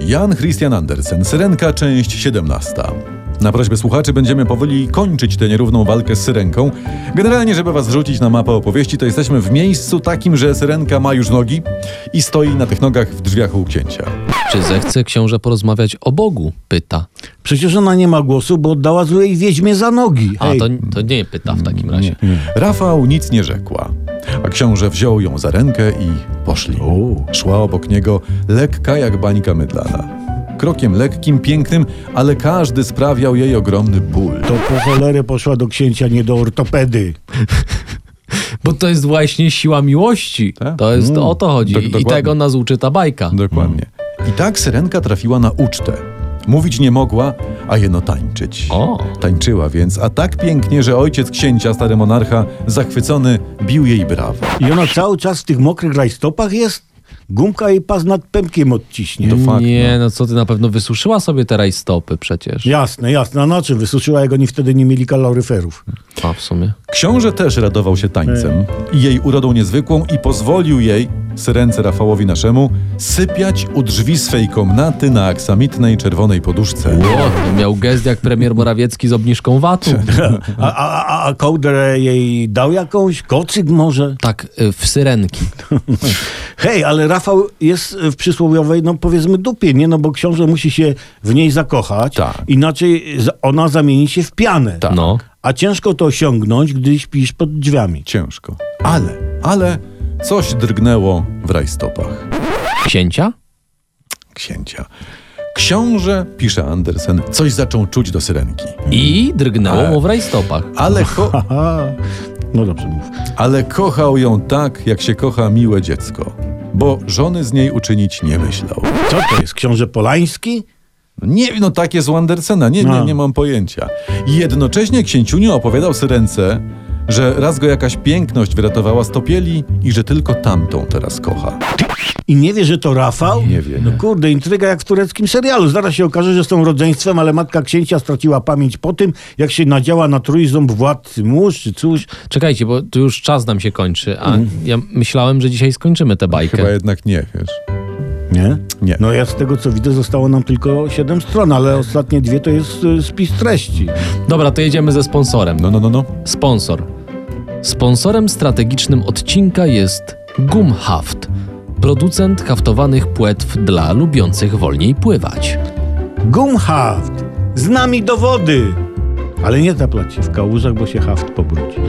Jan Christian Andersen, Syrenka, część 17. Na prośbę słuchaczy będziemy powoli kończyć tę nierówną walkę z Syrenką. Generalnie, żeby was rzucić na mapę opowieści, to jesteśmy w miejscu takim, że Syrenka ma już nogi i stoi na tych nogach w drzwiach u księcia. Czy zechce książę porozmawiać o Bogu? Pyta. Przecież ona nie ma głosu, bo oddała złej wiedźmie za nogi. A Hej. to, to nie pyta w Mm, takim razie. Rafał nic nie rzekła, a książę wziął ją za rękę i poszli. Szła obok niego lekka jak bańka mydlana. Krokiem lekkim, pięknym, ale każdy sprawiał jej ogromny ból. To po cholerę poszła do księcia, nie do ortopedy. Bo to jest właśnie siła miłości. Tak. To jest Mm. o to chodzi. Tak, I dokładnie. tego nas uczy ta bajka. Dokładnie. I tak syrenka trafiła na ucztę. Mówić nie mogła, a jeno tańczyć. O. Tańczyła więc, a tak pięknie, że ojciec księcia, stary monarcha, zachwycony, bił jej brawo. I ona cały czas w tych mokrych rajstopach jest? Gumka jej pas nad pępkiem odciśnie. To fakt. Nie, no co ty na pewno wysuszyła sobie te rajstopy przecież. Jasne, jasne. A na czym wysuszyła, jak oni wtedy nie mieli kaloryferów? A w sumie. Książę też radował się tańcem i jej urodą niezwykłą i pozwolił jej, syrence Rafałowi naszemu, sypiać u drzwi swej komnaty na aksamitnej czerwonej poduszce. O, miał gest jak premier Morawiecki z obniżką VAT-u. Tak. A, a, a, a kołdrę jej dał jakąś? Kocyk może? Tak, y, w syrenki. Hej, ale Rafał jest w przysłowiowej, no powiedzmy, dupie, nie? No bo książę musi się w niej zakochać, Tak. inaczej z- ona zamieni się w pianę. No. A ciężko to osiągnąć, gdy śpisz pod drzwiami. Ciężko. Ale, ale coś drgnęło w rajstopach. Księcia? księcia. Książę, pisze Andersen, coś zaczął czuć do syrenki. I Tak. drgnęło mu w rajstopach. Ale, ko- Aha. No dobrze mów. ale kochał ją tak, jak się kocha miłe dziecko, bo żony z niej uczynić nie myślał. Co to jest? Książę Polański? Nie, no tak jest u Andersena, nie, nie, No. nie mam pojęcia. I jednocześnie księciuniu opowiadał syrence, że raz go jakaś piękność wyratowała z topieli i że tylko tamtą teraz kocha. I nie wie, że to Rafał? Nie wie, No nie. kurde, intryga jak w tureckim serialu. Zaraz się okaże, że są rodzeństwem, ale matka księcia straciła pamięć po tym, jak się nadziała na trójząb władcy mórz czy coś. Czekajcie, bo tu już czas nam się kończy, a ja myślałem, że dzisiaj skończymy tę bajkę. Mm. Chyba jednak nie, wiesz. Nie? Nie. No ja z tego co widzę zostało nam tylko 7 stron, ale ostatnie dwie to jest y, spis treści. Dobra, to jedziemy ze sponsorem. No, no, no, no. Sponsor. Sponsorem strategicznym odcinka jest Gumhaft, producent haftowanych płetw dla lubiących wolniej pływać. Gumhaft! Z nami do wody! Ale nie zaplaci w kałużach, bo się haft pobrudzi.